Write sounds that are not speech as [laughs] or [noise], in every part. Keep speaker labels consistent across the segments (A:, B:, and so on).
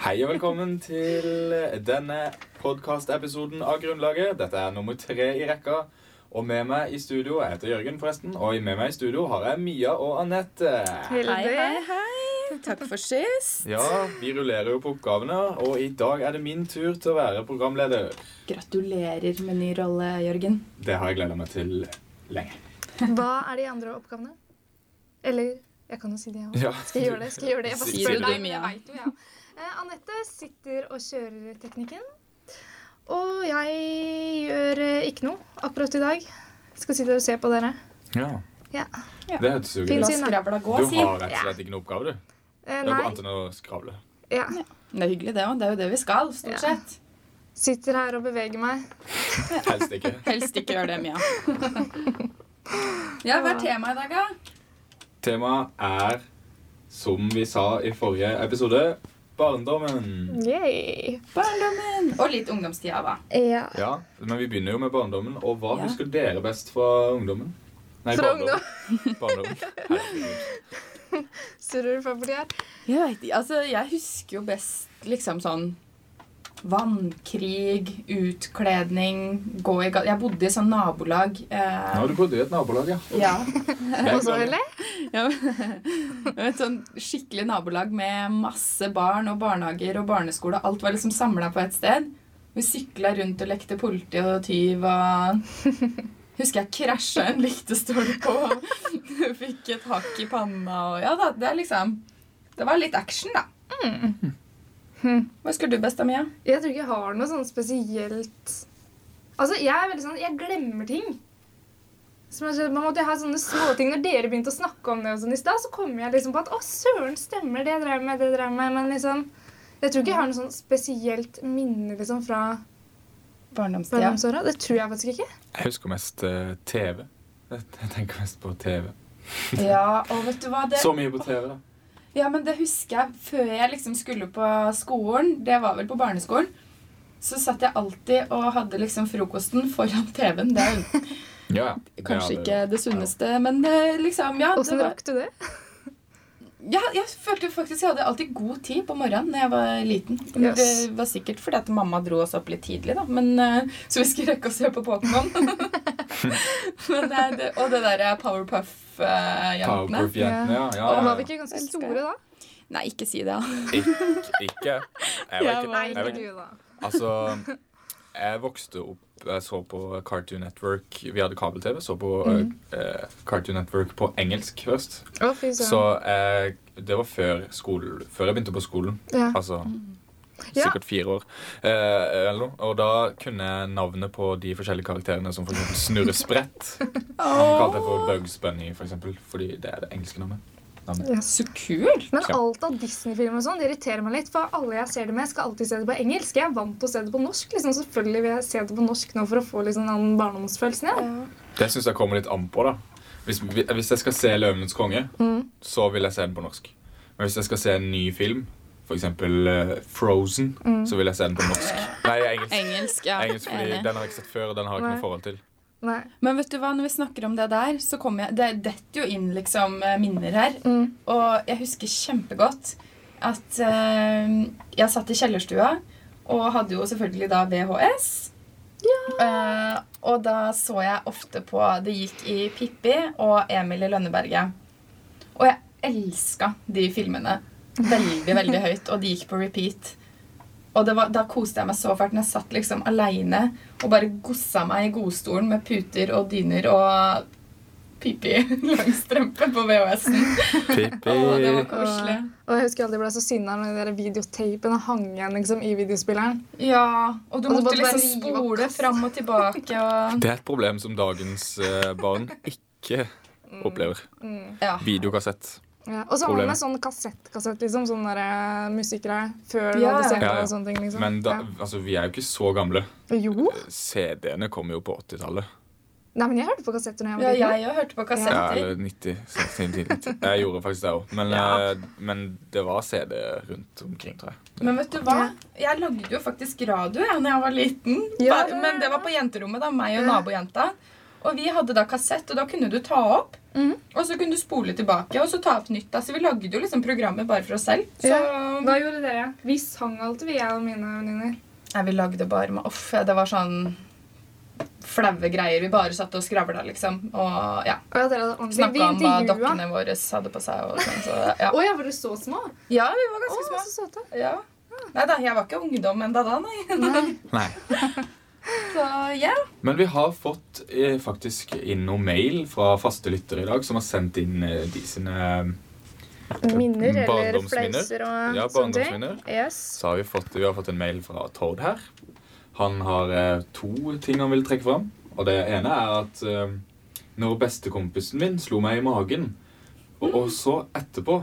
A: Hei og velkommen til denne podkastepisoden av Grunnlaget. Dette er nummer tre i rekka. Og med meg i studio Jeg heter Jørgen, forresten. Og med meg i studio har jeg Mia og Anette.
B: Hei, hei.
C: hei. Takk for sist.
A: Ja, vi rullerer jo på oppgavene, og i dag er det min tur til å være programleder.
C: Gratulerer med ny rolle, Jørgen.
A: Det har jeg gleda meg til lenge.
B: Hva er de andre oppgavene? Eller jeg kan jo si det,
A: [laughs]
B: jeg òg.
A: Ja.
B: Skal jeg gjøre det? Skal jeg gjøre det? Jeg bare
A: Sier
B: spør
A: du
B: deg,
A: det,
B: men jeg vet jo, ja. Eh, Anette sitter og kjører teknikken. Og jeg gjør eh, ikke noe akkurat i dag. Skal sitte og se på dere.
A: Ja.
B: Ja.
A: Det hørtes jo
B: Fin
A: greit
C: La
A: ut.
B: syn, da.
C: skravla gå,
A: Du
C: si.
A: har rett og slett ikke noe oppgave, du?
B: Eh,
A: Det er bare
B: nei.
A: annet enn å skravle.
B: Ja.
C: Det er hyggelig, det òg. Det er jo det vi skal,
B: Ja.
C: stort sett.
B: Sitter her og beveger meg.
A: Helst ikke.
C: Helst ikke gjør det, Mia. [laughs] Ja, hva er temaet i dag, da?
A: Temaet er, som vi sa i forrige episode, barndommen.
B: Yay.
C: Barndommen. Og litt ungdomstida, da.
B: Ja.
A: Ja, men vi begynner jo med barndommen. Og hva
C: Ja.
A: husker dere best fra ungdommen? Nei,
B: Fra
A: barndommen. barndommen. Herregud.
B: Surrer for fordi her.
C: Jeg vet, ikke, altså, jeg husker jo best liksom sånn Vannkrig, utkledning, gå i gata Jeg bodde i sånn nabolag.
A: Nå
C: Eh,
A: har du bodd i et nabolag, ja.
C: ja.
A: Jeg
B: [laughs] Og så,
A: gleder meg.
B: eller?
C: Ja, [laughs] men- Et sånn skikkelig nabolag med masse barn og barnehager og barneskole. Alt var liksom samla på ett sted. Vi sykla rundt og lekte politi og tyv og Husker jeg krasja en lyktestolpe og [laughs] fikk et hakk i panna og Ja da, det er liksom Det var litt action, da. Hva husker du best, da, Mia?
B: Jeg tror ikke jeg har noe sånn spesielt Altså, jeg er veldig sånn Jeg glemmer ting. Som jeg, skjønner, man måtte jo ha sånne småting Når dere begynte å snakke om det og sånn i stad, så kom jeg liksom på at å, søren, stemmer det jeg drev med, det jeg drev med. Men liksom Jeg tror ikke jeg har noe sånn spesielt minne liksom fra
C: Barndomstida.
B: barndomsåra. Det tror jeg faktisk ikke.
A: Jeg husker mest eh, TV. Jeg jeg tenker mest på TV.
C: Ja, og vet du hva? Det,
A: Så mye på TV, da.
C: Ja, men det husker jeg før jeg liksom skulle på skolen. Det var vel på barneskolen. Så satt jeg alltid og hadde liksom frokosten foran TV-en. Det er jo
A: [laughs] Ja, ja.
C: kanskje
A: det
C: ikke
A: er det.
C: det sunneste, men eh, liksom, ja. Det
B: Åssen
C: var,
B: rakk du det?
C: ja jeg følte faktisk jeg hadde alltid god tid på morgenen da jeg var liten. Men
B: Yes.
C: Det var sikkert fordi at mamma dro oss opp litt tidlig, da. Men, eh, så vi skulle rekke å se på
A: [laughs]
C: Pokémon. Men det er det- og det eh, derre Powerpuff-jentene.
A: Powerproof-jentene, ja. ja,
B: Og
A: ja,
B: var vi ikke ganske
C: Elsker
B: store da?
C: Nei, ikke si det. da.
A: Ik- Ikke. Jeg var
C: Jeg
A: ikke
C: var-
B: Nei,
A: jeg var
B: ikke
A: ikke-
B: du, da.
A: Altså, jeg vokste opp Jeg så på Cartoon Network. Vi hadde kabel-TV. Så på
B: Mhm.
A: eh, eh, Cartoon Network på engelsk først.
B: Å, fy
A: Så
B: søren.
A: eh, det var før, skole, før jeg begynte på skolen.
B: Ja.
A: Altså
B: Ja.
A: sikkert fire år. Eh, eller noe. Og da kunne jeg navnet på de forskjellige karakterene, som for eksempel Snurresprett. Han kalte jeg for Bugs Bunny, for eksempel, fordi det er det engelske navnet. navnet.
B: Yes.
C: Så kult!
B: Men
A: Ja.
B: alt av Disney-filmer og sånn, det irriterer meg litt. For alle jeg ser det med, skal alltid se det på engelsk. Jeg er vant til å se det på norsk. liksom. Selvfølgelig vil jeg se det på norsk nå for å få liksom den barndomsfølelsen igjen.
A: Det syns jeg kommer litt an på, da. Hvis, hvis jeg skal se 'Løvenes konge', så vil jeg se den på norsk. Men hvis jeg skal se en ny film, f.eks. Uh, 'Frozen', så vil jeg se den på norsk. Nei, engelsk.
C: Engelsk, [laughs] ja.
A: Engelsk, fordi
C: Enig.
A: Den har jeg ikke sett før, og den har jeg ikke noe
B: Nei.
A: forhold til.
B: Nei.
C: Men vet du hva, når vi snakker om det der, så kommer jeg Det detter jo inn liksom eh, minner her.
B: Mm.
C: Og jeg husker kjempegodt at eh, jeg satt i kjellerstua og hadde jo selvfølgelig da VHS. Eh, og da så jeg ofte på Det gikk i Pippi og Emil i Lønneberget. Og jeg elska de filmene veldig, [laughs] veldig høyt, og de gikk på repeat. Og det var, da koste jeg meg så fælt når jeg satt liksom aleine og bare gossa meg i godstolen med puter og dyner og [laughs] Pippi langstrømpe på VHS-en. Å, det var
B: Eh.
A: Pippi.
C: koselig.
B: Og jeg husker alltid jeg ble så sinna når de der videotapene hang igjen liksom, i videospilleren.
C: Ja, og du
B: Og så
C: måtte
B: måtte bare
C: liksom
B: rive opp
C: spole fram og tilbake og
A: [laughs] Det er et problem som dagens eh, barn ikke opplever.
B: Mm.
C: Ja.
A: Videokassett.
B: Ja. Og så har man
A: Problemet.
B: med sånn kassett-kassett, liksom. Sånn der eh, musikkgreier. Før du
C: Ja,
B: hadde
C: ja.
B: CD
A: Ja, ja.
B: og sånne ting. liksom.
A: Men da, altså, vi er jo ikke så gamle.
B: ja. Jo.
A: CD-ene kom jo på 80-tallet.
B: Nei, men jeg hørte på kassetter da jeg
C: ja
B: var liten.
C: jeg òg hørte på
A: Ja,
C: kassetter.
A: eller 90. 60, 90. Jeg gjorde faktisk det òg. Men,
C: Ja.
A: eh, men det var CD rundt omkring, tror jeg.
C: Men vet du hva? Jeg lagde jo faktisk radio jeg, når jeg var liten.
B: Ja,
C: Bare,
B: ja,
C: men det
B: ja.
C: var på jenterommet, da. Meg og nabojenta. Og vi hadde da kassett, og da kunne du ta opp.
B: Mhm.
C: Og så kunne du spole tilbake og så ta opp nytt. Da. Så vi lagde jo liksom programmet bare for oss selv. Så
B: Hva gjorde dere? Vi sang alltid, vi, jeg og mine venninner.
C: Nei, vi lagde bare med Uff, ja, det var sånn flaue greier. Vi bare satt og skravla, liksom. Og ja.
B: Og at dere hadde ordentlig
C: Snakka
B: Vi
C: om hva
B: intervjua.
C: dokkene våre hadde på seg. Og sånn, så, ja.
B: Å ja, var dere så små? Å,
C: ja, vi var ganske
B: så
C: små.
B: søte.
C: Ja. Nei da, jeg var ikke ungdom enda da, nei.
A: Nei.
C: Så ja.
A: Men vi har fått eh, faktisk inn noe mail fra faste lyttere i dag som har sendt inn eh, de sine
B: Minner eller
A: Barndomsminner.
B: flauser og
A: Ja,
B: sånne ting.
A: barndomsminner.
B: Yes.
A: Så har vi fått, vi har fått en mail fra Tord her. Han har eh, to ting han vil trekke fram. Og det ene er at eh, når bestekompisen min slo meg i magen, og, og så etterpå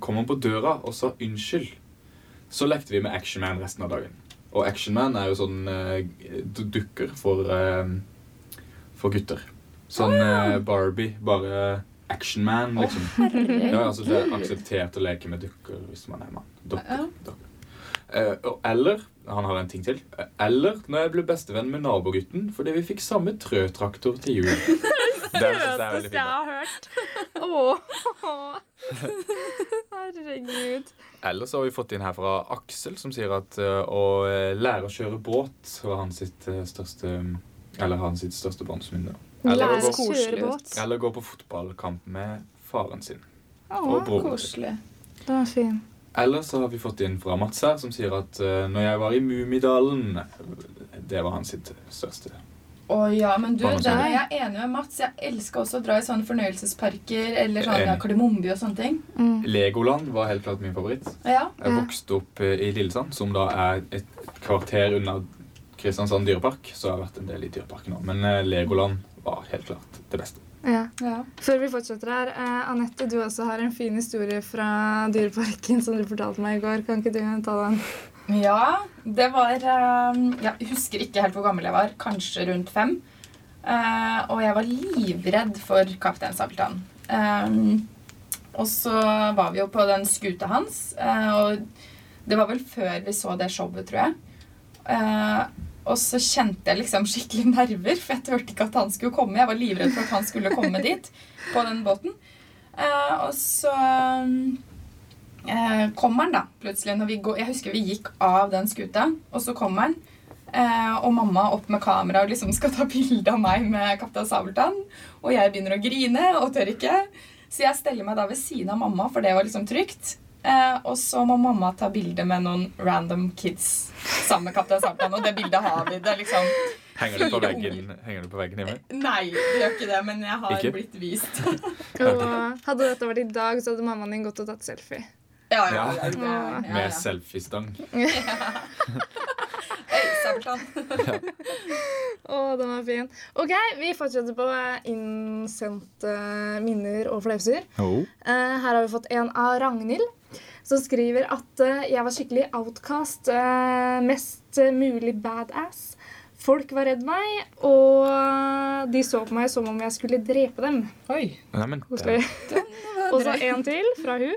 A: kom han på døra og sa unnskyld, så lekte vi med Action Man resten av dagen. Og Action Man er jo sånn eh, du- dukker for, eh, for gutter. Sånn eh, Barbie, bare Action Man, liksom. Ja, altså det er akseptert å leke med dukker hvis man er mann. Dukker.
C: Ja.
A: dukker. Eh, og eller Han har en ting til. Eh, Eller når jeg ble bestevenn med nabogutten fordi vi fikk samme trøtraktor til jul. Det synes jeg er veldig fint. da.
B: har [laughs] hørt. Åh. [laughs] Herregud.
A: Eller så har vi fått inn her fra Aksel, som sier at eh, å eh, lære å kjøre båt var hans sitt eh, største Eller hans sitt største barndomsminne. Eller, å
B: Lære å
A: gå-
B: kjøre
D: koselig
B: båt.
D: ut.
A: eller gå på fotballkamp med faren sin.
C: Å,
A: broren.
C: koselig.
B: Den var fin.
A: Eller så har vi fått inn fra Mats her, som sier at uh, når jeg var i Mummidalen Det var hans sitt største.
C: Å ja, men du,
A: Hva med
C: der er
B: deg?
C: jeg enig med Mats. Jeg elsker også å dra i sånne fornøyelsesparker eller sånn, ja,
A: Enig.
C: Kardemommeby og sånne ting.
B: Mm.
A: Legoland var helt klart min favoritt.
C: Ja.
A: Jeg
B: Ja.
A: vokste opp eh, i Lillesand, som da er et kvarter unna Kristiansand dyrepark. Så jeg har vært en del i dyreparken òg. Men eh, Legoland var helt klart det beste.
B: Ja.
C: ja.
B: Før vi fortsetter her, eh, Anette, du også har en fin historie fra Dyreparken som du fortalte meg i går. Kan ikke du ta den?
C: Ja, det var ehm, ja, Jeg husker ikke helt hvor gammel jeg var. Kanskje rundt fem. Eh, og jeg var livredd for Kaptein Sabeltann. Ehm, og så var vi jo på den skuta hans, eh, og det var vel før vi så det showet, tror jeg. Eh, og så kjente jeg liksom skikkelig nerver, for jeg turte ikke at han skulle komme. Jeg var livredd for at han skulle komme dit på den båten. Eh, og så ehm, eh, kommer han da, plutselig. Når vi går, jeg husker vi gikk av den skuta, og så kommer han. Eh, og mamma opp med kamera og liksom skal ta [laughs] bilde av meg med Kaptein Sabeltann. Og jeg begynner å grine og tør ikke. Så jeg steller meg da ved siden av mamma, for det var liksom trygt. Eh, og så må mamma ta bilde med noen random kids sammen med Kaptein Sabeltann. Og det bildet har vi. Det er liksom
A: Henger det på
C: Fire
A: veggen, henger det på veggen hjemme?
C: Nei, det gjør ikke det, men jeg har
A: Ikke?
C: blitt vist.
B: Og [laughs] hadde dette vært i dag, så hadde mammaen din gått og tatt selfie.
C: Ja, ja, ja, det-
B: Ja.
C: ja, ja.
A: Med selfiestang.
C: Hei, Sabeltann.
B: Å, den var fin. Ok, vi fortsetter på eh, innsendte minner og flauser. Eh, Her har vi fått en av Ragnhild, som skriver at eh, jeg var skikkelig outcast, eh, mest eh, mulig badass. Folk var redd meg, og eh, de så på meg som om jeg skulle drepe dem.
C: Oi.
A: Nei, men, eh,
B: Koselig. Og så en til fra hun.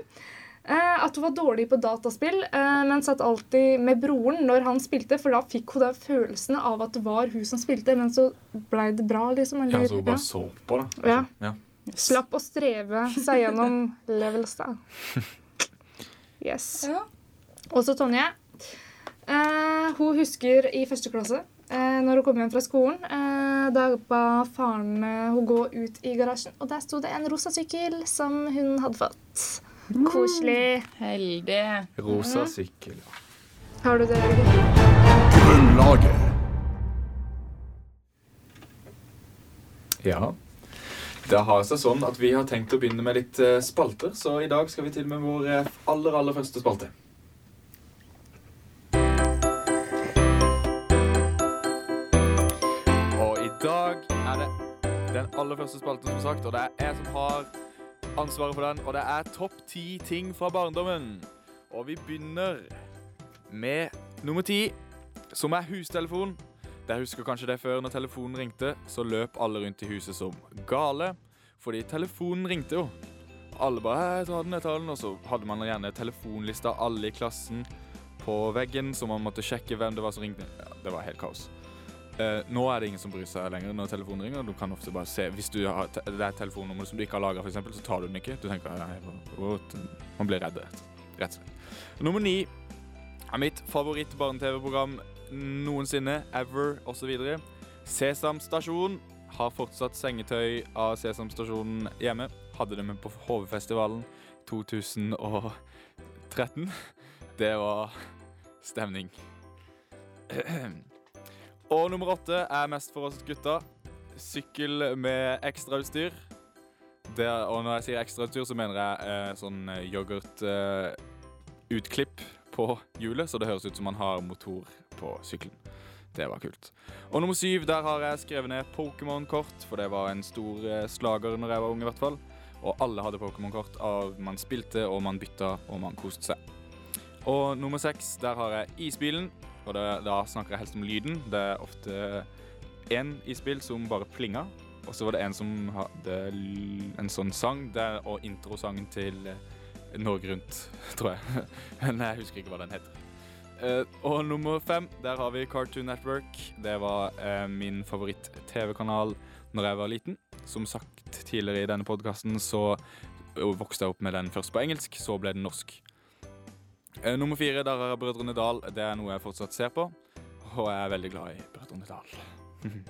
B: Eh, At hun var dårlig på dataspill, eh, men satt alltid med broren når han spilte, for da fikk hun den følelsen av at det var hun som spilte, men så blei det bra, liksom.
A: ja,
B: Eller,
A: så hun
B: ja.
A: bare så på, da.
B: Ja.
A: Ja.
B: Slapp å streve seg gjennom levels,
A: [laughs]
B: da. Yes.
C: Ja.
B: Også Tonje. Eh, hun husker i første klasse, eh, når hun kom hjem fra skolen, eh, da ba faren eh, hun gå ut i garasjen, og der sto det en rosa sykkel som hun hadde fått. Koselig.
C: Heldig.
A: Rosa sykkel.
B: Har du det? Jørgen?
E: Grunnlaget.
A: Ja. Det har seg sånn at vi har tenkt å begynne med litt eh, spalter, så i dag skal vi til med vår eh, aller, aller første spalte. Og i dag er det den aller første spalten, som sagt, og det er jeg som har ansvaret for den, og det er topp ti ting fra barndommen. Og vi begynner med nummer ti, som er hustelefon. Dere husker kanskje det før når telefonen ringte, så løp alle rundt i huset som gale, fordi telefonen ringte jo. Alle bare «Jeg tar den, jeg tar den, og så hadde man gjerne telefonlista av alle i klassen på veggen, så man måtte sjekke hvem det var som ringte. Ja, det var helt kaos. Eh, nå er det ingen som bryr seg lenger når telefonen ringer. Du kan ofte bare se Hvis du har te det er et telefonnummer som du ikke har lagra, så tar du den ikke. Du tenker nei, what? Man blir redd. rett- Rett og slett. Nummer ni er mitt favoritt-barne-TV-program noensinne. Ever osv. Sesam stasjon. Har fortsatt sengetøy av Sesam stasjon hjemme. Hadde det med på HV-festivalen 2013. Det var stemning. Og nummer åtte er mest for oss gutta. Sykkel med ekstrautstyr. Det, og når jeg sier ekstrautstyr, så mener jeg eh, sånn yoghurtutklipp eh, utklipp på hjulet, så det høres ut som man har motor på sykkelen. Det var kult. Og nummer syv, der har jeg skrevet ned Pokémon-kort, for det var en stor eh, slager når jeg var ung, i hvert fall. Og alle hadde Pokémon-kort. av Man spilte, og man bytta, og man koste seg. Og nummer seks, der har jeg isbilen. Og det, da snakker jeg helst om lyden. Det er ofte én isbil som bare plinga. Og så var det en som hadde l- en sånn sang der, og introsangen til eh, Norge Rundt, [laughs] tror jeg. Men jeg husker ikke hva den heter. Eh, og nummer fem, der har vi Cartoon Network. Det var eh, min favoritt-TV-kanal når jeg var liten. Som sagt tidligere i denne podkasten, så eh, vokste jeg opp med den først på engelsk, så ble den norsk. Eh, Nummer fire, der er Brødrene Dal. Det er noe jeg fortsatt ser på. Og jeg er veldig glad i Brødrene Dal. [laughs]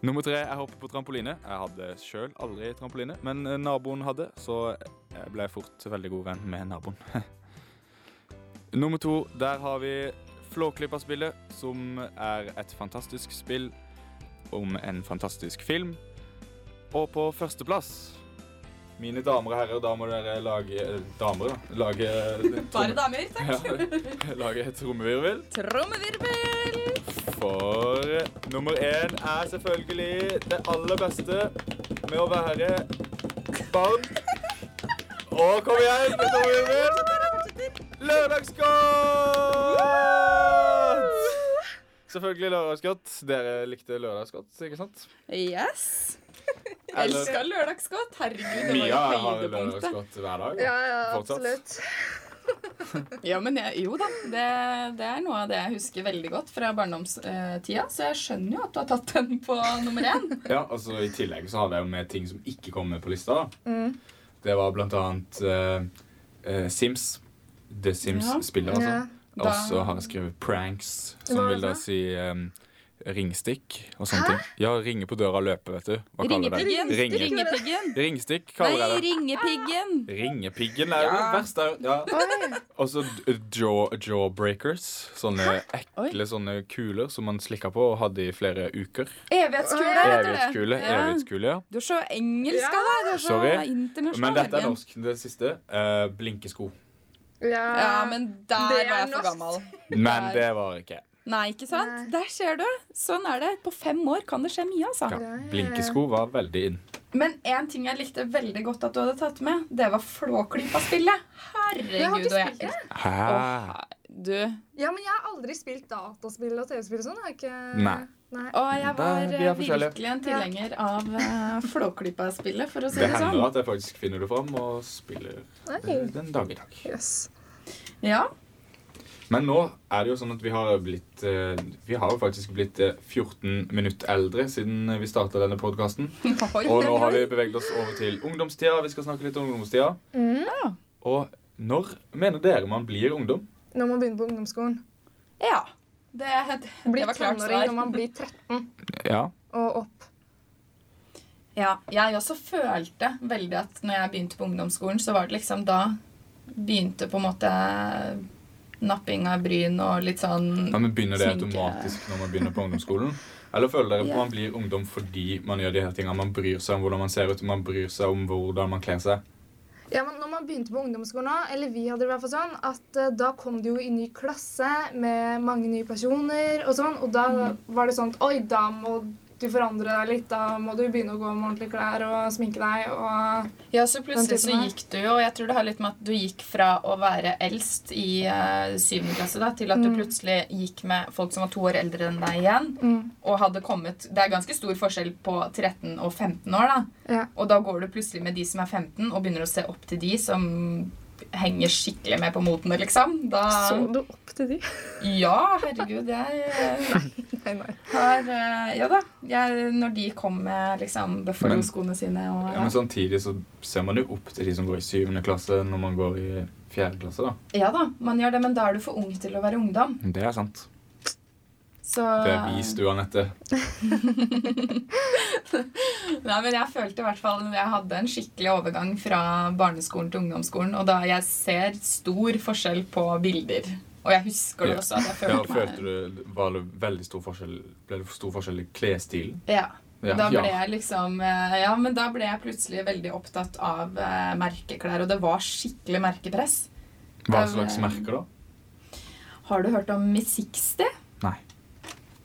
A: Nummer tre, jeg hopper på trampoline. Jeg hadde sjøl aldri trampoline, men eh, naboen hadde, så jeg ble fort veldig god venn med naboen. Nummer to, der har vi Flåklypa-spillet, som er et fantastisk spill om en fantastisk film. Og på førsteplass Mine damer og herrer, da må dere lage eh, Damer, da. Lage [laughs]
C: Bare damer, takk.
A: ja. Lage et trommevirvel.
C: Trommevirvel!
A: For eh, nummer én er selvfølgelig det aller beste med å være barn. Og kom igjen, trommevirvel! Lørdagsgodt! Selvfølgelig lørdagsgodt. Dere likte lørdagsgodt, ikke sant?
C: Yes. Elsker lørdagsgodt. Herregud, det
A: Mia
C: var jo
A: har
C: høydepunktet.
A: lørdagsgodt hver dag.
B: Ja, ja,
A: Fortsatt.
B: absolutt.
C: Ja, men jeg, jo da, det, det er noe av det jeg husker veldig godt fra barndomstida, så jeg skjønner jo at du har tatt den på nummer én.
A: Ja, altså I tillegg så hadde jeg jo med ting som ikke kom med på lista. da. Det var blant annet eh, eh, Sims. The Sims-spillet, altså.
B: Ja.
C: Da-
A: Og så har jeg skrevet pranks, som
B: Hva
A: vil da
B: da?
A: si em, ringstikk og sånne ting. Ja, ringe på døra og løpe, vet du. Hva kaller dere det?
C: Ringepiggen.
A: Ringe.
C: Ringepiggen.
A: Ringstikk kaller
C: Nei,
A: jeg det.
C: ringepiggen.
A: Ringepiggen er jo det verste. Ja. Og så Altså, d- jaw, jawbreakers. Sånne ekle sånne kuler som man slikka på og hadde i flere uker.
C: Evighetskule heter det.
A: Evighetskule. Evighetskule, ja.
C: Du er så engelsk
B: Ja.
C: av deg. Du er så
A: Sorry.
C: internasjonal.
A: Men dette er
C: Jørgen.
A: norsk, det siste. Eh, blinkesko.
B: Ja,
C: Ja, men der
B: Det er
C: var jeg for
B: norsk.
C: gammel.
A: Men det var ikke jeg.
C: Nei, ikke sant?
B: Nei.
C: Der ser du. Sånn er det. På fem år kan det skje mye, altså.
A: Ja, blinkesko var veldig inn.
C: Men én ting jeg likte veldig godt at du hadde tatt med, det var Flåklypa-spillet.
B: Jeg har
C: Herregud,
B: ikke
C: og jeg
B: spilt det.
A: Hæ?
C: Du.
B: Ja, men jeg har aldri spilt dataspill og TV-spill og sånn. har jeg Ikke...
A: Nei.
B: Nei.
C: Og jeg
A: Der,
C: var
A: vi er
C: eh,
A: forskjellige.
C: virkelig en tilhenger av eh, Flåklypa-spillet, for å si
A: Det
C: det
A: hender
C: sånn.
A: at jeg faktisk finner det fram og spiller
B: Nei.
A: det den dag i dag.
B: Yes.
C: Ja.
A: Men nå er det jo sånn at vi har blitt eh, Vi har jo faktisk blitt eh, 14 minutter eldre siden eh, vi starta denne podkasten.
C: Oi,
A: Og nå har vi beveget oss over til ungdomstida. Vi skal snakke litt om ungdomstida.
C: Ja.
A: Og når mener dere man blir ungdom?
B: Når man begynner på ungdomsskolen.
C: ja. Det, det, det
B: Blir
C: var klart
B: tenåring når
C: svar.
B: man blir 13
A: Ja.
B: og opp.
C: Ja, jeg også følte veldig at når jeg begynte på ungdomsskolen, så var det liksom da begynte på en måte napping av bryn og litt sånn
A: men Begynner det
C: Sminke.
A: automatisk når man begynner på ungdomsskolen? Eller føler dere at
C: Ja.
A: man blir ungdom fordi man gjør de her tingene? Man bryr seg om hvordan man ser ut, man bryr seg om hvordan man kler seg.
B: Ja, men når man begynte på ungdomsskolen, også, eller vi hadde det i hvert fall sånn, at eh, da kom det jo i ny klasse med mange nye personer og sånn, og da var det sånn at oi, da må du forandre deg litt, da må du begynne å gå med ordentlige klær og sminke deg og
C: Ja, så plutselig
B: Den
C: så
B: typen her.
C: gikk du jo, og jeg tror det har litt med at du gikk fra å være eldst i eh, syvende klasse da, til at
B: Mm.
C: du plutselig gikk med folk som var to år eldre enn deg igjen,
B: Mm.
C: og hadde kommet Det er ganske stor forskjell på 13 og 15 år, da.
B: Ja.
C: Og da går du plutselig med de som er 15, og begynner å se opp til de som henger skikkelig med på motene, liksom. Da,
B: Så du opp til de? [laughs]
C: ja, herregud, jeg eh,
B: Nei, nei.
C: har eh, Ja da. Jeg, når de kom med liksom Buffalo-skoene sine og
A: Ja, men samtidig så ser man jo opp til de som går i syvende klasse når man går i fjerde klasse, da.
C: Ja da, man gjør det, men da er du for ung til å være ungdom.
A: Det er sant.
C: Så
A: Det er vist, du, Anette.
C: Nei, men jeg følte i hvert fall at jeg hadde en skikkelig overgang fra barneskolen til ungdomsskolen. Og da jeg ser stor forskjell på bilder. Og jeg husker det
A: Ja.
C: også. at jeg
A: [laughs] Ja,
C: følte meg...
A: følte du var det veldig stor forskjell Ble det stor forskjell i klesstilen?
C: Ja.
A: Ja,
C: Da ble
A: ja.
C: jeg liksom eh, Ja, men da ble jeg plutselig veldig opptatt av eh, merkeklær, og det var skikkelig merkepress.
A: Hva slags merker, da?
C: Har du hørt om Miss 60?
A: Nei.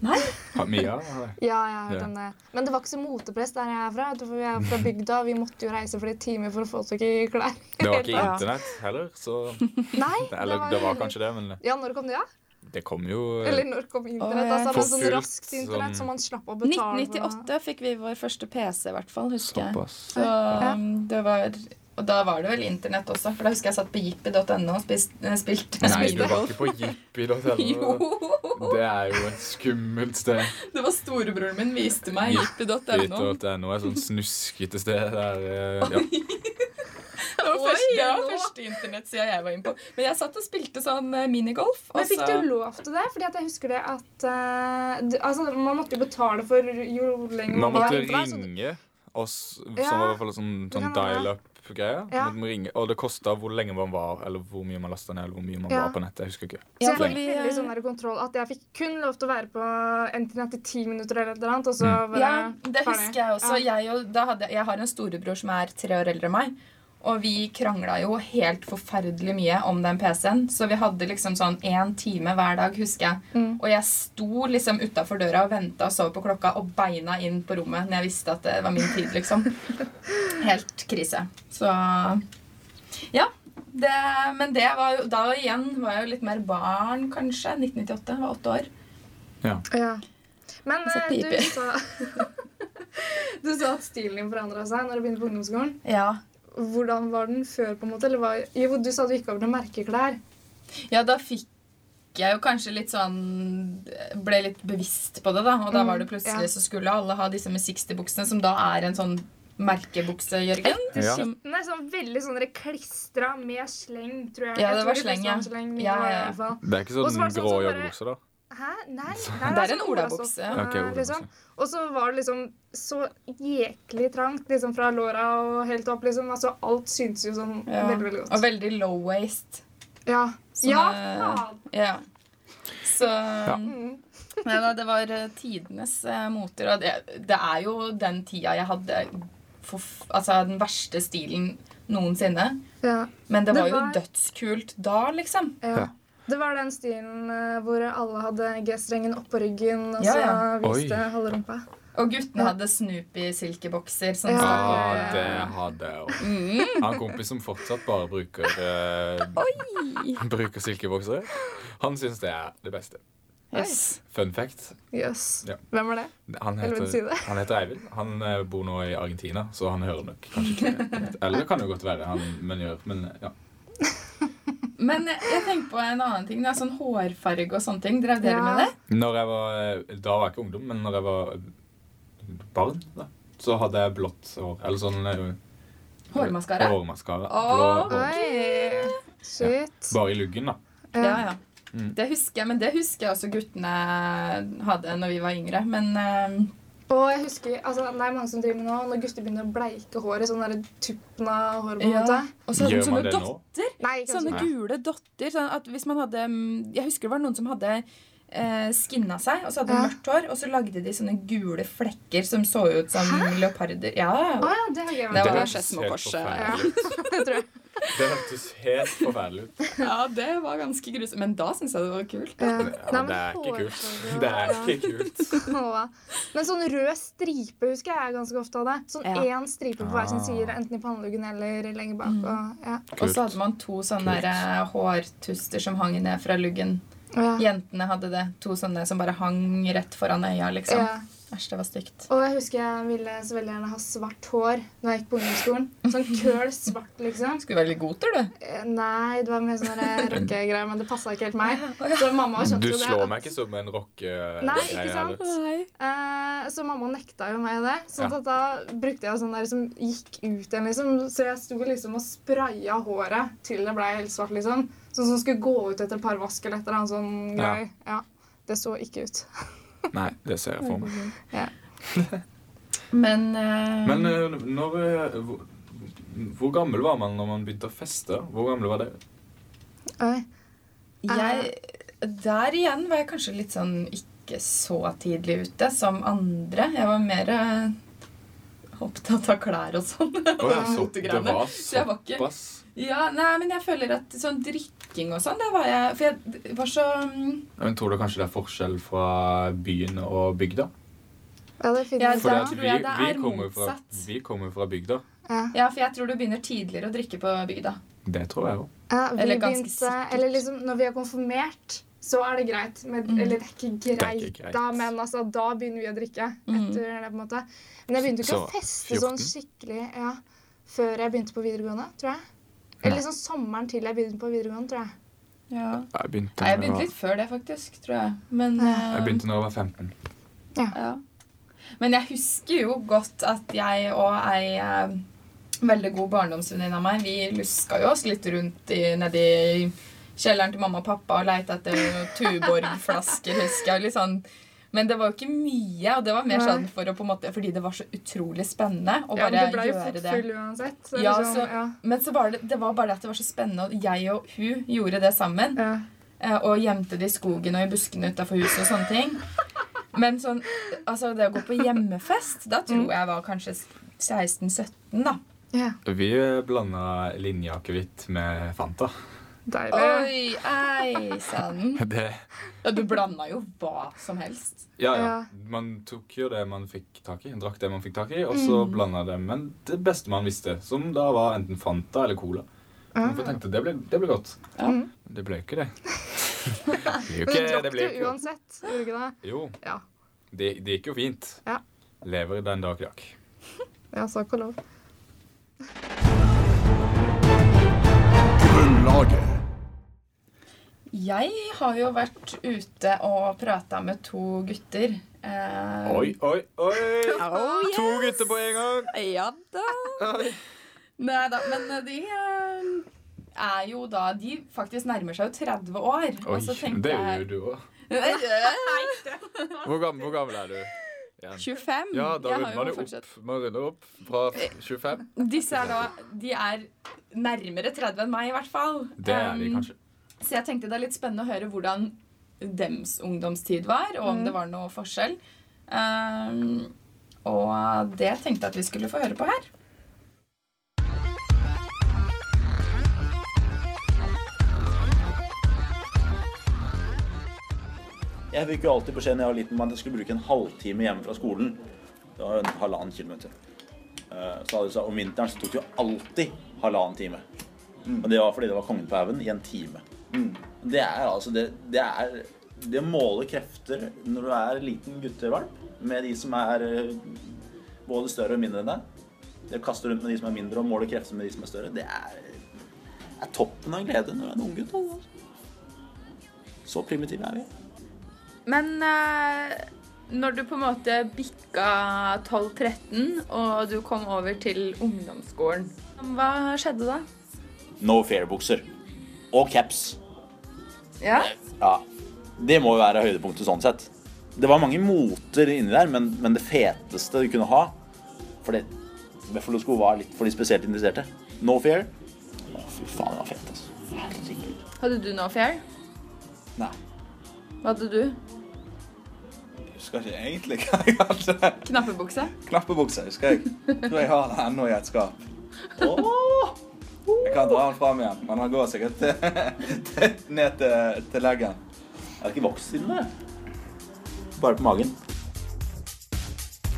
C: Nei?
A: Ha- Mia? eller?
B: Ja, jeg har hørt
A: Ja.
B: om det. Men det var ikke så motepress der jeg er fra. vet du, for Vi er fra bygda, og vi måtte jo reise flere timer for å få tak i klær.
A: Det var ikke
B: Ja.
A: internett heller, så
B: [laughs] Nei,
A: Eller det var kanskje det, men
B: Ja, når kom det, ja?
A: det kom jo eh,
B: Eller når kom internett?
F: Åh,
B: Altså,
A: For
B: men sånn
A: fullt,
B: raskt internett
A: sånn-
B: som man slapp å betale for.
F: 1998 fikk vi vår første PC, i hvert fall, husker jeg.
A: såpass.
C: Så um, det var Og da var det vel internett også, for da husker jeg satt på jippi.no og spist- eh, spilte
A: Nei, du
C: spilte-
A: var ikke på
B: [laughs]
A: jippi.no.
C: Jo!
A: Det er jo et skummelt sted.
C: Det var storebroren min viste meg jippi.no.
A: Jippi.no er et sånt snuskete sted. Der,
B: [laughs]
A: eh, ja.
C: Det var første, det var
G: nå.
C: første internettsida jeg var inne på. Men jeg satt og spilte sånn eh, minigolf.
G: Men
C: Og
G: fikk
C: så
G: du lov til det? Fordi at jeg husker det at eh, du, altså, Man måtte jo betale for jo lenger
A: Man måtte
G: var ute, da, så-
A: ringe oss, som
G: Ja,
A: var i hvert fall sånn, sånn
B: kan være.
A: dial-up-greie.
B: Ja.
A: Man ringe, Og det kosta hvor lenge man var, eller hvor mye man lasta ned, eller hvor mye man
B: Ja.
A: var på nettet. Jeg husker ikke.
B: Så
F: Ja,
B: jeg
F: for
B: fikk
F: vi,
B: veldig
F: eh,
B: sånn der kontroll at jeg fikk kun lov til å være på internett i ti minutter eller et eller annet, og så
A: Mm.
B: var
C: Ja,
B: jeg
C: det
B: ferdig.
C: husker jeg også.
B: Ja.
C: Jeg, og, da hadde, jeg har en storebror som er tre år eldre enn meg. Og vi krangla jo helt forferdelig mye om den PC-en. Så vi hadde liksom sånn én time hver dag, husker jeg.
B: Mm.
C: Og jeg sto liksom utafor døra og venta og så på klokka og beina inn på rommet når jeg visste at det var min tid, liksom.
B: [laughs]
C: Helt krise. Så Ja. Det, men det var jo da igjen var jeg jo litt mer barn, kanskje. 1998. Var åtte år.
B: Ja. Men
C: Og så
B: eh, du
C: piper.
B: sa [laughs] Du sa at stilen din forandra seg når du begynte på ungdomsskolen.
C: Ja.
B: Hvordan var den før? på en måte? Eller hva- jo, du sa du gikk over til merkeklær.
C: Ja, da fikk jeg jo kanskje litt sånn Ble litt bevisst på det, da. Og da var det plutselig
B: ja.
C: så skulle alle ha disse med 60-buksene, som da er en sånn merkebukse, Jørgen.
A: Ja.
C: Som,
G: Den er sånn veldig sånn klistra med sleng, tror jeg.
C: Ja,
G: Jeg
C: det
G: tror
C: var
G: de fleste
C: sleng, ja.
G: har sleng, men
C: Ja,
G: det var
C: ja, ja.
G: i hvert fall.
A: Det er ikke
B: Og så
A: sånn
B: var det sånn
A: grå
B: som bare-
A: joggebukse, da.
B: Hæ? Nei,
A: [laughs]
C: Det er
B: sånn
C: en olabukse.
B: olastoff,
A: Ok,
B: eh,
A: olabukse.
B: liksom. Og så var det liksom så jeklig trangt liksom fra låra og helt opp. liksom. Altså, alt syntes jo sånn
C: ja.
G: Veldig, veldig
C: Og
G: godt.
C: veldig low waste.
B: Ja.
C: Sånn,
G: Ja,
C: eh,
G: faen!
C: ja. Så Nei da, det var eh, tidenes eh, moter. Og det, det er jo den tida jeg hadde forf- altså, den verste stilen noensinne.
B: ja.
C: Men det
B: Det
C: var jo
B: var-
C: dødskult da, liksom.
B: Ja.
A: Ja.
B: Det var den stilen eh, hvor alle hadde G-strengen oppå ryggen og
C: Ja,
B: så
C: ja.
B: viste
A: Oi.
B: halve rumpa.
C: Og guttene hadde Snoopy-silkebokser. Sånn
B: Ja.
A: Ja,
C: stakk-
A: Ah, det hadde jeg òg.
F: Mm.
A: Jeg har en kompis som fortsatt bare bruker eh, Bruker silkeboksere. Han syns det er det beste.
C: Yes.
A: Fun fact.
B: Jøs.
A: Ja.
B: Hvem var det?
A: Han
B: Eller vil du si
A: heter,
B: det?
A: han heter Eivind. Han eh, bor nå i Argentina, så han hører nok kanskje ikke det. Eller kan det godt være han men gjør Men ja.
C: Men jeg tenker på en annen ting. Da. Sånn hårfarge og sånne ting. Drev dere
B: Ja.
C: med det?
A: Når jeg var, eh, da var jeg ikke ungdom, men når jeg var eh, barn, da, så hadde jeg blått hår. Eller sånn eh,
C: Hårmaskara?
A: hårmaskara. Blå
C: Å,
A: hår.
B: Oi! Shit.
A: Bare i luggen, da.
C: Ja, ja.
A: Mm.
C: Det husker jeg, men det husker jeg også guttene hadde når vi var yngre. Men eh,
B: Og jeg husker, altså, det er mange som driver med nå, når gutter begynner å bleike håret, sånn der tuppen av håret på en
C: Ja.
B: måte.
F: eh, Og så hadde
A: Gjør
F: hun
A: man
F: sånne
A: det nå?
F: dotter.
B: Nei, ikke
F: Sånne
A: Nei.
F: gule dotter. Sånn at hvis man hadde mm, Jeg husker det var noen som hadde eh, skinna seg, og så hadde de
B: Ja.
F: mørkt hår, og så lagde de sånne gule flekker som så ut som leoparder. Ja,
B: Å ja, det har jeg
C: Det
B: vært.
C: var
A: hørtes
F: Skedsmo
A: helt
F: Kors,
A: forferdelig
B: ja.
A: ut.
B: Det tror jeg.
A: Det hørtes helt forferdelig ut.
F: ja det var ganske grusomt. Men da syns jeg det var kult.
B: [laughs] Ja.
A: Ja, det er ikke kult. [laughs] Det er ikke
C: [laughs]
A: kult.
B: kult. Men sånn rød stripe husker jeg er ganske ofte av det. Sånn
F: Ja.
B: én stripe på hver sin
A: Ah.
B: side, enten i panneluggen eller lenger bak. Og, ja.
C: og så hadde man to sånne
A: Kult.
C: der, eh, hårtuster som hang ned fra luggen.
B: Ja.
C: Jentene hadde det. To sånne som bare hang rett foran øya, liksom.
B: Ja.
C: Æsj, det var stygt.
B: Og jeg husker jeg ville så veldig gjerne ha svart hår når jeg gikk på ungdomsskolen. Sånn køl svart, liksom.
C: Skulle være litt goter, du.
B: Eh, Nei, det var mer sånn der rockegreier, men det passa ikke helt meg. Så mamma skjønte
A: Du
B: jo det.
A: slår
B: at-
A: meg ikke som en rocke...
B: Nei, ikke sant? Eh, Så mamma nekta jo meg det. Så
A: Ja.
B: da brukte jeg sånn der som gikk ut igjen, liksom. Så jeg sto liksom og spraya håret til det ble helt svart, liksom. Sånn som skulle gå ut etter et par vask eller et eller annet sånn
A: Ja.
B: greier. Ja. Det så ikke ut.
A: Nei, det ser jeg for meg.
C: Men, eh,
A: Men eh, når eh, hvor- Hvor gammel var man når man begynte å feste? Hvor gamle var dere?
B: Oi.
C: jeg, der igjen var jeg kanskje litt sånn ikke så tidlig ute som andre. Jeg var mer eh, opptatt av klær og sånn.
A: Å, ja, så, det
C: Motegreiene.
A: var
C: Så jeg var ikke-
A: såpass.
C: [laughs] Ja, nei, men jeg føler at sånn drikking og sånn, det var jeg For jeg var så mm,
A: Men tror du kanskje det er forskjell fra byen og bygda?
B: Ja, det finnes
A: Fordi
C: Da
A: at
C: tror
A: vi,
C: jeg det
A: vi
C: er
A: kommer fra,
C: motsatt.
A: vi kommer fra bygda.
C: Ja, for jeg tror du begynner tidligere å drikke på bygda.
A: Det tror jeg òg.
B: Ja, vi
C: Eller
B: eller
C: ganske
B: begynte,
C: sikkert.
B: Eller liksom, når vi er konfirmert, så er det greit. Med,
C: Mm.
B: Eller det er ikke
A: er
B: greit,
A: ikke greit.
B: da, men altså, da begynner vi å drikke.
C: Mm.
B: Etter det, på en måte. Men jeg begynte jo ikke
A: Så
B: å feste
A: 14?
B: sånn skikkelig ja, før jeg begynte på videregående, tror jeg. Eller liksom sommeren til jeg begynte på videregående, tror jeg.
C: Ja.
A: Jeg begynte
C: Nei, jeg begynte
A: når jeg
C: litt før det, faktisk, tror jeg. Men,
A: var-
C: eh,
A: jeg begynte når jeg var 15.
C: Ja. Men jeg husker jo godt at jeg og ei eh, veldig god barndomsvenninne av meg, vi luska jo oss litt rundt i, nedi kjelleren til mamma og pappa og leita etter
B: [laughs]
C: noen Tuborg-flasker, husker jeg. Litt sånn. Men det var jo ikke mye, og det var mer
B: Nei.
C: sånn for å på en måte, fordi det var så utrolig spennende å
B: Ja,
C: bare
B: men du ble jo
C: gjøre
B: fort
C: det.
B: full uansett. Så
C: Ja,
B: liksom,
C: så-
B: ja.
C: Men så var det, det var bare det at det var så spennende, og jeg og hun gjorde det sammen.
B: Ja.
C: eh, Og gjemte det i skogen og i buskene utafor huset og sånne ting. Men sånn, altså det å gå på hjemmefest, da tror jeg var kanskje 16-17, da.
A: Vi blanda linjeakevitt med Fanta. [laughs]
B: Deilig.
C: Oi, ei sann.
A: Det,
C: Eh, Ja, du blanda jo hva som helst.
A: ja, ja.
B: Ja.
A: Man tok jo det man fikk tak i, drakk det man fikk tak i, og så blanda det med det beste man visste, som da var enten Fanta eller Cola.
B: Ah.
A: Man får tenkte, det ble, det ble godt.
C: Ja.
A: Men det ble jo ikke det. Det ble jo
B: Men du
A: ikke, det
B: drakk
A: ble jo
B: det
A: ikke godt.
B: uansett, gjorde du ikke det?
A: Jo.
B: Ja.
A: Det, det gikk jo fint.
B: Ja.
A: Lever den dag i dag.
B: Ja, så ikke lov.
E: Grunnlaget.
C: Jeg har jo vært ute og prata med to gutter. Eh,
A: Oi, oi, oi!
H: Oh, yes.
A: To gutter på en gang!
H: Ja da.
C: Nei da, men de eh, er jo da De faktisk nærmer seg jo 30 år.
A: Oi,
C: og så tenker
A: det gjør
C: [laughs] jeg-
A: jo du òg.
C: Nei,
A: [laughs] Hvor, gam- hvor gammel er du?
H: 25.
A: Ja, da
C: Jeg har
A: runder man
C: jo
A: jo opp.
C: fortsatt-
A: Man runder opp fra 25.
C: Disse er da De er nærmere 30 enn meg, i hvert fall.
A: Det er de
C: Um,
A: kanskje.
C: Så jeg tenkte det er litt spennende å høre hvordan dems ungdomstid var, og
H: Mm.
C: om det var noe forskjell. Um, og det tenkte jeg at vi skulle få høre på her.
I: Jeg fikk jo alltid beskjed når jeg var liten om at jeg skulle bruke en halvtime hjemme fra skolen. Det var jo en halvannen kilometer. Eh, Så hadde de sagt om vinteren så tok det jo alltid halvannen time. Og det var fordi det var Kongen på haugen i en time. Det er altså det, det er Det måler krefter når du er liten guttevalp med de som er eh, både større og mindre enn deg. Det å kaste rundt med de som er mindre og måle krefter med de som er større, det er, er toppen av glede når du er en unggutt. Altså. Så primitive er vi.
H: Men eh, når du på en måte bikka 12-13, og du kom over til ungdomsskolen, hva skjedde da?
I: No fair-bukser. Og caps.
H: Ja.
I: Ja, Det må jo være høydepunktet sånn sett. Det var mange moter inni der, men, men det feteste du kunne ha For det Buffalo-sko var litt for de spesielt interesserte. No fair. Å, fy faen, det var fett, altså. Herregud.
H: Hadde du noe fair?
I: Nei.
H: Hva hadde du?
J: Jeg husker ikke egentlig hva jeg hadde.
H: Knappebukse?
J: Knappebukse husker jeg. Tror jeg har den ennå i et skap. Jeg kan dra den fram igjen, men den går sikkert til, til, ned til, til leggen.
I: Er det ikke voks inni der? Bare på magen.
C: Ja.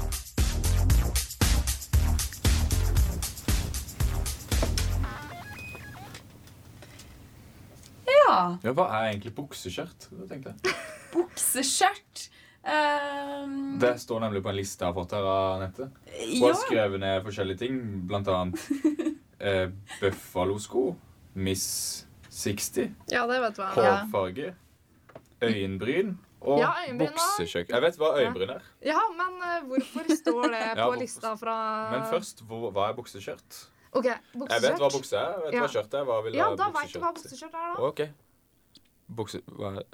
A: Ja, hva er egentlig bukseskjørt? Det tenkte jeg.
C: Bukseskjørt. Eh,
D: Mm.
C: Ehm,
A: Det står nemlig på en liste jeg har fått her av nettet. Hun
C: ja.
A: har skrevet ned forskjellige ting,
D: [laughs]
A: blant annet eh, Buffalo-sko, Miss 60,
D: Ja, det vet du hva. Ja.
A: hårfarge, øyenbryn og
D: Ja, øyenbryn også.
A: buksekjøkk. Jeg vet hva øyenbryn er,
D: ja, men eh, hvorfor står
A: [laughs]
D: det
A: Ja,
D: på
A: hvorfor-
D: lista fra
A: men først hvor, hva er bukseskjørt?
D: Ok,
A: Jeg vet hva
D: bukseskjørt.
A: bukse er, jeg vet
D: Ja.
A: hva skjørt er. Hva vil
D: Ja,
A: ha
D: da veit du hva
A: bukseskjørt?
D: bukseskjørt er, da.
A: Ok. Bukse... Hva er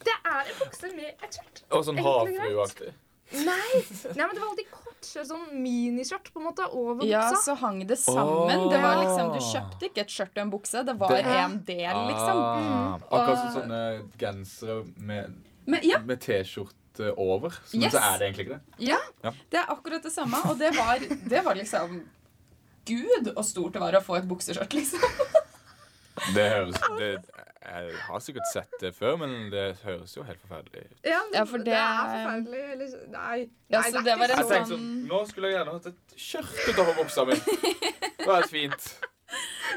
D: Det er en bukse med et skjørt.
A: Og sånn
D: Enkelt og greit.
A: havfrueaktig.
D: Nei, Nei men det var alltid kortskjørt, sånn miniskjørt på en måte, over
C: ja,
D: buksa.
C: så hang det sammen. Det var liksom, Du kjøpte ikke et skjørt og en bukse. Det var
A: Det-
C: en del, liksom.
A: Ah,
D: Mm.
A: akkurat som
C: Og-
A: sånne gensere med,
C: Men ja,
A: med T-skjorte over. Så, men
C: Yes.
A: så er det egentlig ikke det.
C: ja,
A: Ja.
C: det er akkurat det samme. Og det var, det var liksom Gud, og stort det var å få et bukseskjørt, liksom.
A: Det høres Jeg har sikkert sett det før, men det høres jo helt forferdelig ut.
D: Ja, men
C: Ja, for det-
D: det er forferdelig. Eller, nei,
C: Ja,
D: nei,
C: så
D: det
C: det
D: er
C: var
D: ikke
A: Jeg
C: en
D: så
A: tenkte sånn, Nå skulle jeg gjerne hatt et skjørt utover buksa mi. Det var fint.
C: [laughs]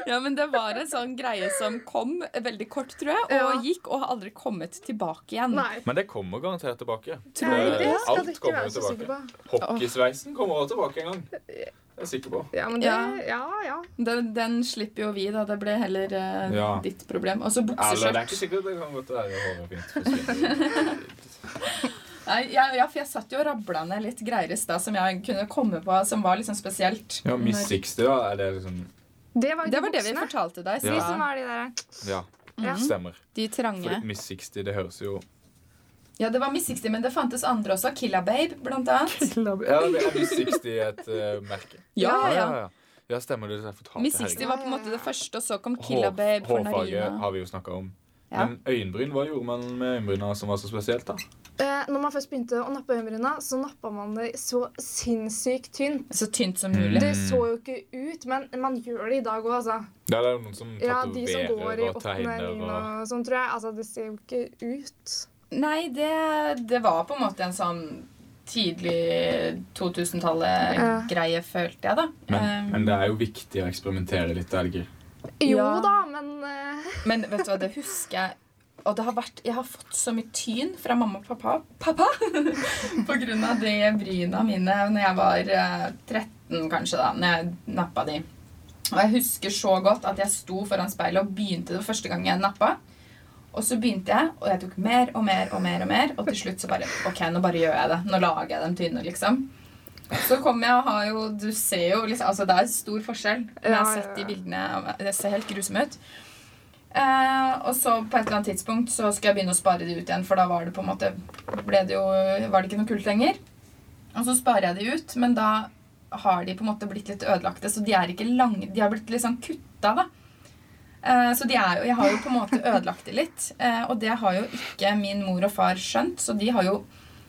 C: Ja, men det var en sånn greie som kom veldig kort, tror jeg, og
D: Ja.
C: gikk og har aldri kommet tilbake igjen.
D: Nei.
A: Men det kommer garantert tilbake. Eh,
D: Nei, det skal du
A: Alt
D: ikke
A: kommer
D: være
A: jo
D: så sikker
A: tilbake.
D: på.
A: Hockeysveisen kommer også tilbake en gang. Det er jeg sikker på.
D: Ja, men det,
C: Ja.
D: ja, ja.
C: Den, den slipper jo vi, da. Det ble heller eh,
A: Ja.
C: ditt problem. Og så
A: Eller det er
C: bukseskjørt.
A: ikke sikkert. Det kan godt være håret fint.
C: Nei, ja, ja, for jeg satt jo og rabla ned litt greier i stad som jeg kunne komme på som var liksom spesielt.
A: Ja, Miss 60, da. Er det liksom
D: Det var jo
C: Det
D: de
C: var det vi
D: buksene.
C: fortalte deg.
A: Ja.
C: Så
D: De som var de der.
A: Ja,
D: Ja.
A: stemmer.
C: De trange.
A: For Miss 60, det høres jo
C: Ja, det var Miss 60, men det fantes andre også. Killa Babe, blant annet.
A: Ja, det er Miss 60 et eh, merke.
C: Ja,
D: Ah,
C: ja, ja.
A: Ja, stemmer det. Jeg fortalte
C: Miss
A: herregud.
C: 60 var på en måte det første, og så kom Killa
A: Hår-
C: Babe for
A: Hårfarge
C: Narina.
A: har vi jo snakka om.
C: Ja.
A: Men øyenbryn, hva gjorde man med øyenbryna som var så spesielt? da?
D: Eh, når man først begynte å nappe øyenbryna, så nappa man det så sinnssykt tynt.
C: Så tynt som
A: Mm.
C: mulig.
D: Det så jo ikke ut, men man gjør det i dag òg, altså.
A: Ja, det er jo noen som
D: Ja, de som går i
A: tatoverer og
D: åttende
A: tegner
D: niende
A: og
D: og sånn, tror jeg. Altså, det ser jo ikke ut.
C: Nei, det, det var på en måte en sånn tidlig 2000-tallet-greie, følte jeg, da.
A: men,
D: Um,
C: Eh,
A: men det er jo viktig å eksperimentere litt. er det ikke?
D: Jo
C: Ja.
D: da, men eh,
C: Men vet du hva, det husker jeg Og det har vært, jeg har fått så mye tyn fra mamma og pappa, pappa [laughs] På grunn av de bryna mine Når jeg var eh, 13 kanskje da Når jeg nappa de Og jeg husker så godt at jeg sto foran speilet Og begynte det første gang jeg nappa Og så begynte jeg, og jeg tok mer og mer og mer og mer Og til slutt så bare, ok, nå bare gjør jeg det Nå lager jeg dem tynne liksom så kommer jeg og har jo Du ser jo liksom Altså, det er stor forskjell. Men jeg
D: Ja, ja,
C: har sett
D: ja.
C: de bildene. Det ser helt grusomt ut. Eh, og så på et eller annet tidspunkt så skal jeg begynne å spare de ut igjen, for da var det på en måte ble det jo, var det ikke noe kult lenger. Og så sparer jeg de ut, men da har de på en måte blitt litt ødelagte, så de er ikke lange. De har blitt litt sånn kutta, da. Eh, Så de er jo, jeg har jo på en måte ødelagt det litt. eh, Og det har jo ikke min mor og far skjønt, så de har jo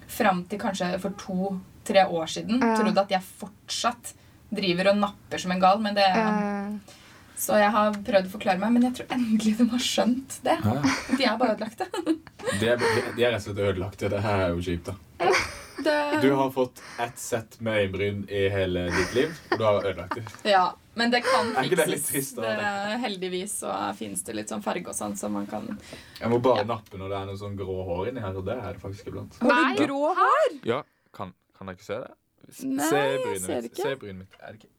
C: fram til kanskje for to-tre år siden
D: Ja.
C: trodd at jeg fortsatt driver og napper som en gal. Men det, så jeg har prøvd å forklare meg, men jeg tror endelig de har skjønt det.
A: Ja.
C: De er bare ødelagte.
A: De er, de er rett og slett ødelagte. Det her er jo kjipt. da. Du
C: [laughs] Det,
A: har fått ett sett med øyenbryn i hele ditt liv, og du har ødelagt [laughs] det.
C: ja, men det kan
A: Er ikke det litt
C: fikses.
A: trist da,
C: Det- heldigvis så finnes det litt sånn farge og sånn som man kan
A: Jeg må bare nappe når det er noe sånn grå hår inni her, og det er det faktisk iblant.
C: Har du grå hår?
A: Ja, kan, kan dere se det? S-
C: Nei,
A: se
C: jeg
A: brynet
C: ser
A: mitt.
C: ikke.
A: Se brynet mitt. Er det ikke?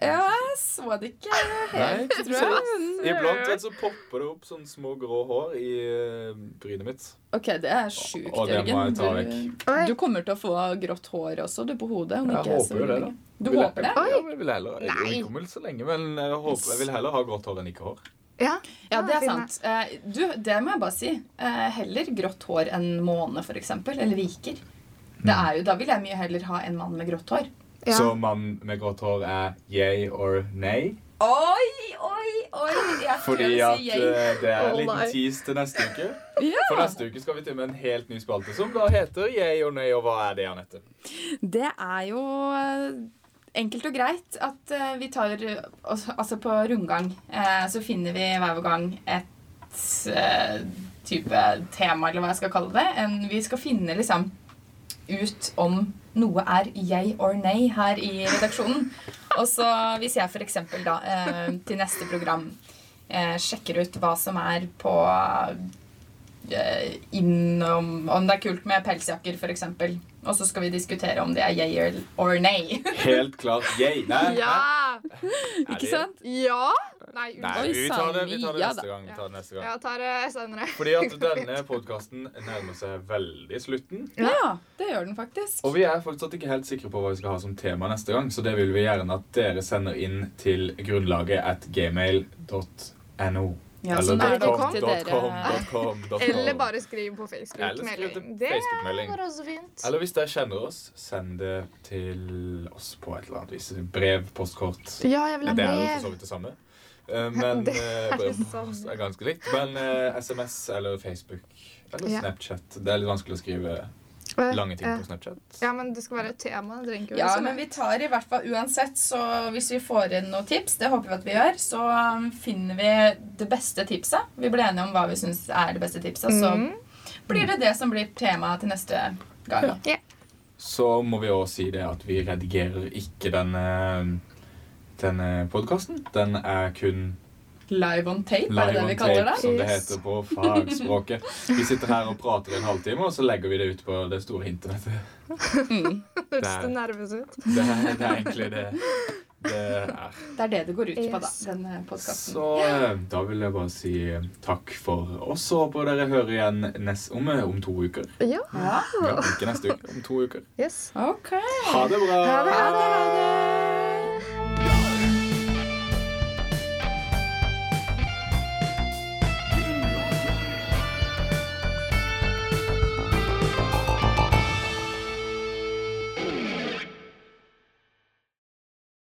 C: Ja, jeg så det ikke helt,
A: Nei.
C: tror [laughs] jeg.
A: Iblant vet, du, så popper det opp sånn små grå hår i eh, brynet mitt.
C: Ok, det er sjukt,
A: Og det må jeg ta
C: Jørgen. Du,
D: Oi.
C: du kommer til å få grått hår også, du, på hodet. Om
A: Jeg
C: ikke så
A: håper jo det, da.
C: lenge. Du håper det?
A: Ja, men jeg vil heller, jeg, jeg kommer vel så lenge, men jeg, håper, jeg vil heller ha grått hår enn ikke hår.
D: ja.
C: Ja, det er
D: fin,
C: sant. Eh, Du, det må jeg bare si. Eh, Heller grått hår enn måne, for eksempel. Eller viker. Det
A: Mm.
C: er jo, da vil jeg mye heller ha en mann med grått hår.
D: Ja.
A: Så mann med grått hår er yay or nay?
C: Oi, oi, oi! Jeg
A: Fordi
C: prøver å
A: at
C: si yay.
A: eh, det er en
D: Å, nei.
A: liten tease til neste uke. For
C: Ja,
A: neste uke skal vi til med en helt ny spalte som da heter yay or nay, og hva er det,
C: [laughs]
A: Anette?
C: det er jo eh, enkelt og greit at eh, vi tar eh, oss- Altså på rundgang eh, så finner vi hver vår gang et eh, type tema, eller hva jeg skal kalle det. En, vi skal finne liksom ut om noe er yay or nay her i redaksjonen. Og så hvis jeg for eksempel da eh, til neste program eh, sjekker ut hva som er på eh, innom om det er kult med pelsjakker, f.eks. Og så skal vi diskutere om det er yay or nay. [laughs]
A: Helt klart yay. Nei, hæ?
D: Ja!
A: Er
H: Ikke
A: det-
H: sant?
D: Ja! Nei,
A: Nei,
D: unnskyld.
H: Oi,
A: vi tar det, vi tar det
H: sann,
A: neste
H: ja
A: gang. Vi tar det neste gang.
D: Jeg tar det senere.
A: Fordi at denne podkasten nærmer seg veldig slutten.
C: ja, det gjør den faktisk.
A: Og vi er fortsatt ikke helt sikre på hva vi skal ha som tema neste gang, så det vil vi gjerne at dere sender inn til grunnlaget at gmail.no.
C: Ja, sånn
A: Eller
C: er det
A: dot
C: opp
A: com,
C: til
A: dot com,
C: dere.
A: dot com, dot com.
D: Eller bare skriv på
A: Eller skriv
D: Facebook-melding.
A: til
D: Det
A: Facebook-melding.
D: går også fint.
A: Eller hvis dere kjenner oss, send det til oss på et eller annet vis. Brev, postkort.
D: Ja, jeg vil ha
A: Det er jo for så
D: brev.
A: vidt det samme. Eh, Men
D: [laughs] Det
A: eh, brev
D: det
A: og post
D: samme.
A: er ganske likt. Men eh, SMS eller Facebook eller
D: Ja. Eh,
A: Snapchat Det er litt vanskelig å skrive lange ting på Snapchat.
D: Ja, men det skal være et tema. Det trenger ikke
C: Ja,
D: være så
C: men
D: langt.
C: vi tar i hvert fall uansett, så hvis vi får inn noen tips, det håper vi at vi gjør, så um, finner vi det beste tipset. Vi blir enige om hva vi syns er det beste tipset, så blir det det som blir temaet til neste gang.
A: Så må vi også si det at vi redigerer ikke denne, denne podkasten. Den er kun
C: Live on tape, er det
A: live
C: det
A: on
C: vi kaller
A: tape,
C: det?
A: som det
D: Yes.
A: heter på fagspråket. Vi sitter her og prater i en halvtime, og så legger vi det ut på det store
D: [laughs]
A: internettet.
D: [laughs] Det
A: Det er-
D: høres nervøs ut.
A: Det er, det er egentlig det det er.
C: [laughs] Det er det det går ut på, da.
D: Yes.
C: Denne podkasten.
A: Så eh, da vil jeg bare si eh, takk for oss, og håper dere hører igjen nest, om, eh, om to uker.
D: Ja.
C: Ja.
A: Ja, ikke neste uke, om to uker.
D: Yes.
C: Ok.
A: Ha det bra!
D: Ha det.